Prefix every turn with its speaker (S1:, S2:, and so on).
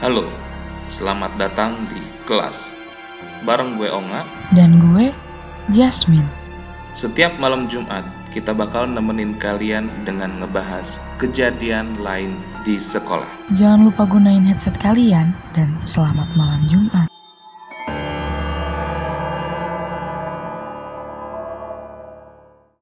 S1: Halo, selamat datang di kelas. Bareng gue Onga,
S2: Dan gue, Jasmine.
S1: setiap malam Jumat kita bakal nemenin kalian dengan ngebahas kejadian lain di sekolah.
S2: Jangan lupa gunain headset kalian dan selamat malam Jumat.